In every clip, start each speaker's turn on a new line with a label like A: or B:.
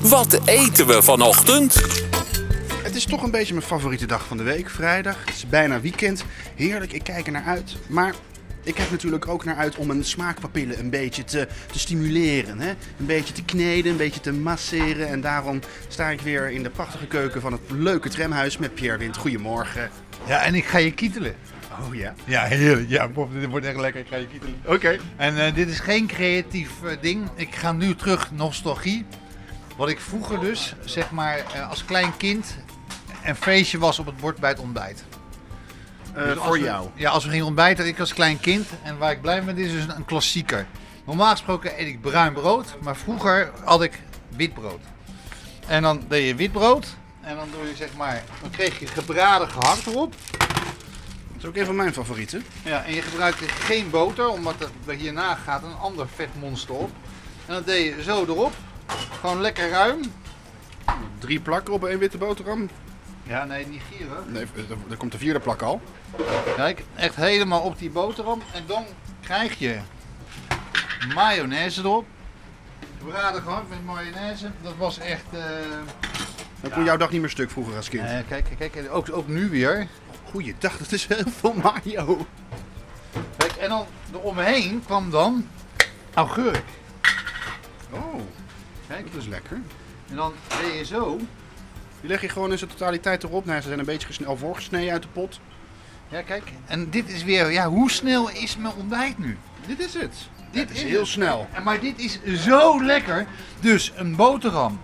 A: Wat eten we vanochtend?
B: Het is toch een beetje mijn favoriete dag van de week, vrijdag. Het is bijna weekend. Heerlijk, ik kijk er naar uit. Maar ik kijk natuurlijk ook naar uit om mijn smaakpapillen een beetje te, te stimuleren. Hè? Een beetje te kneden, een beetje te masseren. En daarom sta ik weer in de prachtige keuken van het leuke tramhuis met Pierre Wind. Goedemorgen.
C: Ja, en ik ga je kietelen.
B: Oh ja.
C: Ja, heerlijk. Ja, Bob, dit wordt echt lekker. Ik ga je kietelen.
B: Oké.
C: En eh, dit is geen creatief eh, ding. Ik ga nu terug nostalgie. Wat ik vroeger dus, zeg maar, eh, als klein kind een feestje was op het bord bij het ontbijt.
B: Eh,
C: Dus als
B: voor
C: we-
B: jou.
C: Ja, als we gingen ontbijten, ik als klein kind. En waar ik blij mee ben, dit is dus een, een klassieker. Normaal gesproken eet ik bruin brood, maar vroeger had ik wit brood. En dan deed je wit brood. En dan doe je zeg maar, dan kreeg je gebraden gehakt erop.
B: Dat is ook een van mijn favorieten.
C: Ja, en je gebruikte geen boter, omdat er hierna gaat een ander vetmonster op. En dat deed je zo erop. Gewoon lekker ruim.
B: Drie plakken op één witte boterham.
C: Ja, nee, niet gierig.
B: Nee, eh, er- er komt de vierde plak al.
C: Kijk, echt helemaal op die boterham. En dan krijg je mayonaise erop. Braden gehakt met mayonaise. Dat was echt... eh,
B: Dan kon jouw dag niet meer stuk vroeger als kind.
C: eh, kijk, kijk, kijk. Ook, ook nu weer.
B: Goeiedag, dat is heel veel mayo.
C: Kijk, en dan eromheen kwam dan augurk.
B: Oh,
C: Kijk,
B: dat is lekker.
C: en dan deed je zo.
B: Die leg je gewoon in zijn totaliteit erop. Nou, ze zijn een beetje gesne- al voorgesneden uit de pot.
C: Ja, kijk. En dit is weer... Ja, hoe snel is mijn ontbijt nu?
B: Dit is het.
C: Dit
B: Het
C: is
B: is heel
C: het.
B: snel.
C: En Maar dit is zo lekker. Dus een boterham.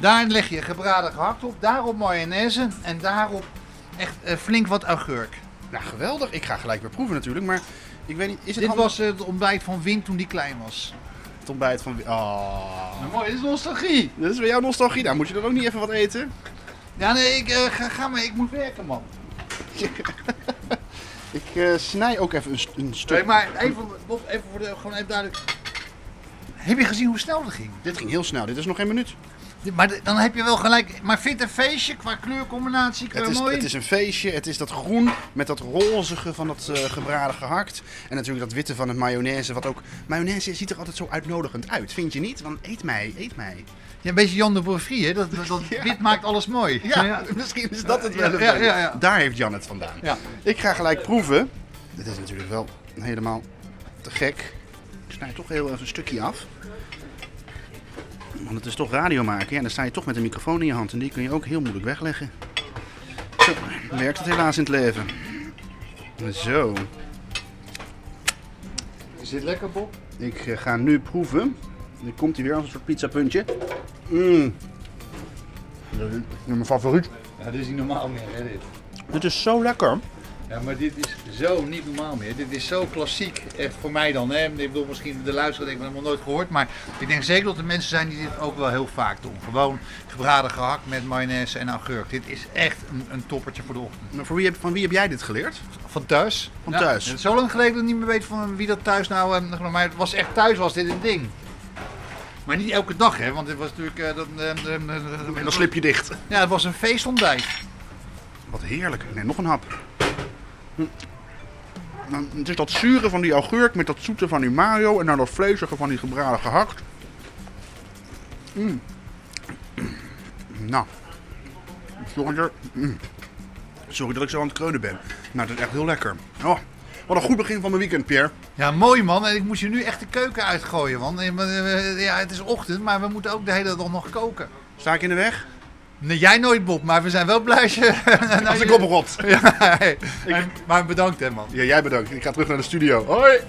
C: Daar leg je gebraden gehakt op. Daarop mayonaise. En daarop echt eh, flink wat augurk.
B: Nou, geweldig. Ik ga gelijk weer proeven natuurlijk, maar ik weet niet, is het
C: Dit
B: handig-
C: was eh, het ontbijt van Wim toen die klein was.
B: het ontbijt van... Oh.
C: Nou, mooi, dit is nostalgie.
B: Dat is weer jouw nostalgie. Nou, moet je dan ook niet even wat eten?
C: Ja, nee, ik, eh, ga, ga maar. Ik moet werken, man.
B: Ik eh, snij ook even een, st- een stuk.
C: Nee, maar even, Bob, even, voor de, gewoon even duidelijk. Heb je gezien hoe snel dat ging?
B: Dit ging heel snel. Dit is nog geen minuut.
C: Dit- Maar d- dan heb je wel gelijk. Maar vindt een feestje qua kleurcombinatie, qua
B: Het is,
C: mooi.
B: het is een feestje. Het is dat groen met dat rozige van dat eh, gebraden gehakt. En natuurlijk dat witte van het mayonaise. Wat ook... Mayonaise ziet er altijd zo uitnodigend uit. Vind je niet? Want eet mij, eet mij.
C: Ja, een beetje Jan de Boerfrie, hè? Dat, dat, dat
B: Ja.
C: wit maakt alles mooi.
B: Nou misschien is dat het
C: Ja,
B: wel. een
C: ja,
B: beetje.
C: ja, ja.
B: Daar heeft Jan het vandaan.
C: Ja.
B: Ik ga gelijk proeven. Dit is natuurlijk wel helemaal te gek. Ik snij toch heel even een stukje af. Want het is toch radio maken. Ja, en dan sta je toch met een microfoon in je hand. En die kun je ook heel moeilijk wegleggen. Zo werkt het helaas in het leven. Zo.
C: Is dit lekker, Bob?
B: Ik eh, ga nu proeven. Dan komt hij weer als een soort pizzapuntje. Mmm. Dat is mijn favoriet.
C: Ja, dit is niet normaal meer, hè, dit.
B: Dit is zo lekker.
C: Ja, maar dit is zo niet normaal meer. Dit is zo klassiek, echt voor mij dan, hè. Ik bedoel, misschien de luisteraar heeft het nog nooit gehoord, maar ik denk zeker dat er mensen zijn die dit ook wel heel vaak doen. Gewoon gebraden gehakt met mayonaise en augurk. Dit is echt een, een toppertje voor de ochtend.
B: Maar voor wie heb- van wie heb jij dit geleerd?
C: Van thuis?
B: Van thuis.
C: het is Zo lang geleden dat ik niet meer weet van wie dat thuis nou... eh, Maar het was echt thuis, was dit een ding. Maar niet elke dag, hè, want dit was natuurlijk... eh, dat, eh, eh, eh,
B: En dan slip je dicht.
C: Ja, het was een feestontbijt.
B: Wat heerlijk. Nee, nog een hap. Hm. Dan- Het is dat zure van die augurk met dat zoete van die mayo en dan dat vleesige van die gebraden gehakt. Mm. Nou, sorry, dat- mm. sorry dat ik zo aan het kreunen ben. Maar het is echt heel lekker. Oh, wat een goed begin van mijn weekend, Pierre.
C: Ja, mooi man. En ik moest je nu echt de keuken uitgooien. Want eh, eh, ja, het is ochtend, maar we moeten ook de hele dag nog koken.
B: Sta ik in de weg?
C: Nee, jij nooit, Bob, maar we zijn wel blij als je...
B: Als ik oprot.
C: Ja, hey. En- maar bedankt hè, man.
B: Ja, jij bedankt. Ik ga terug naar de studio. Hoi!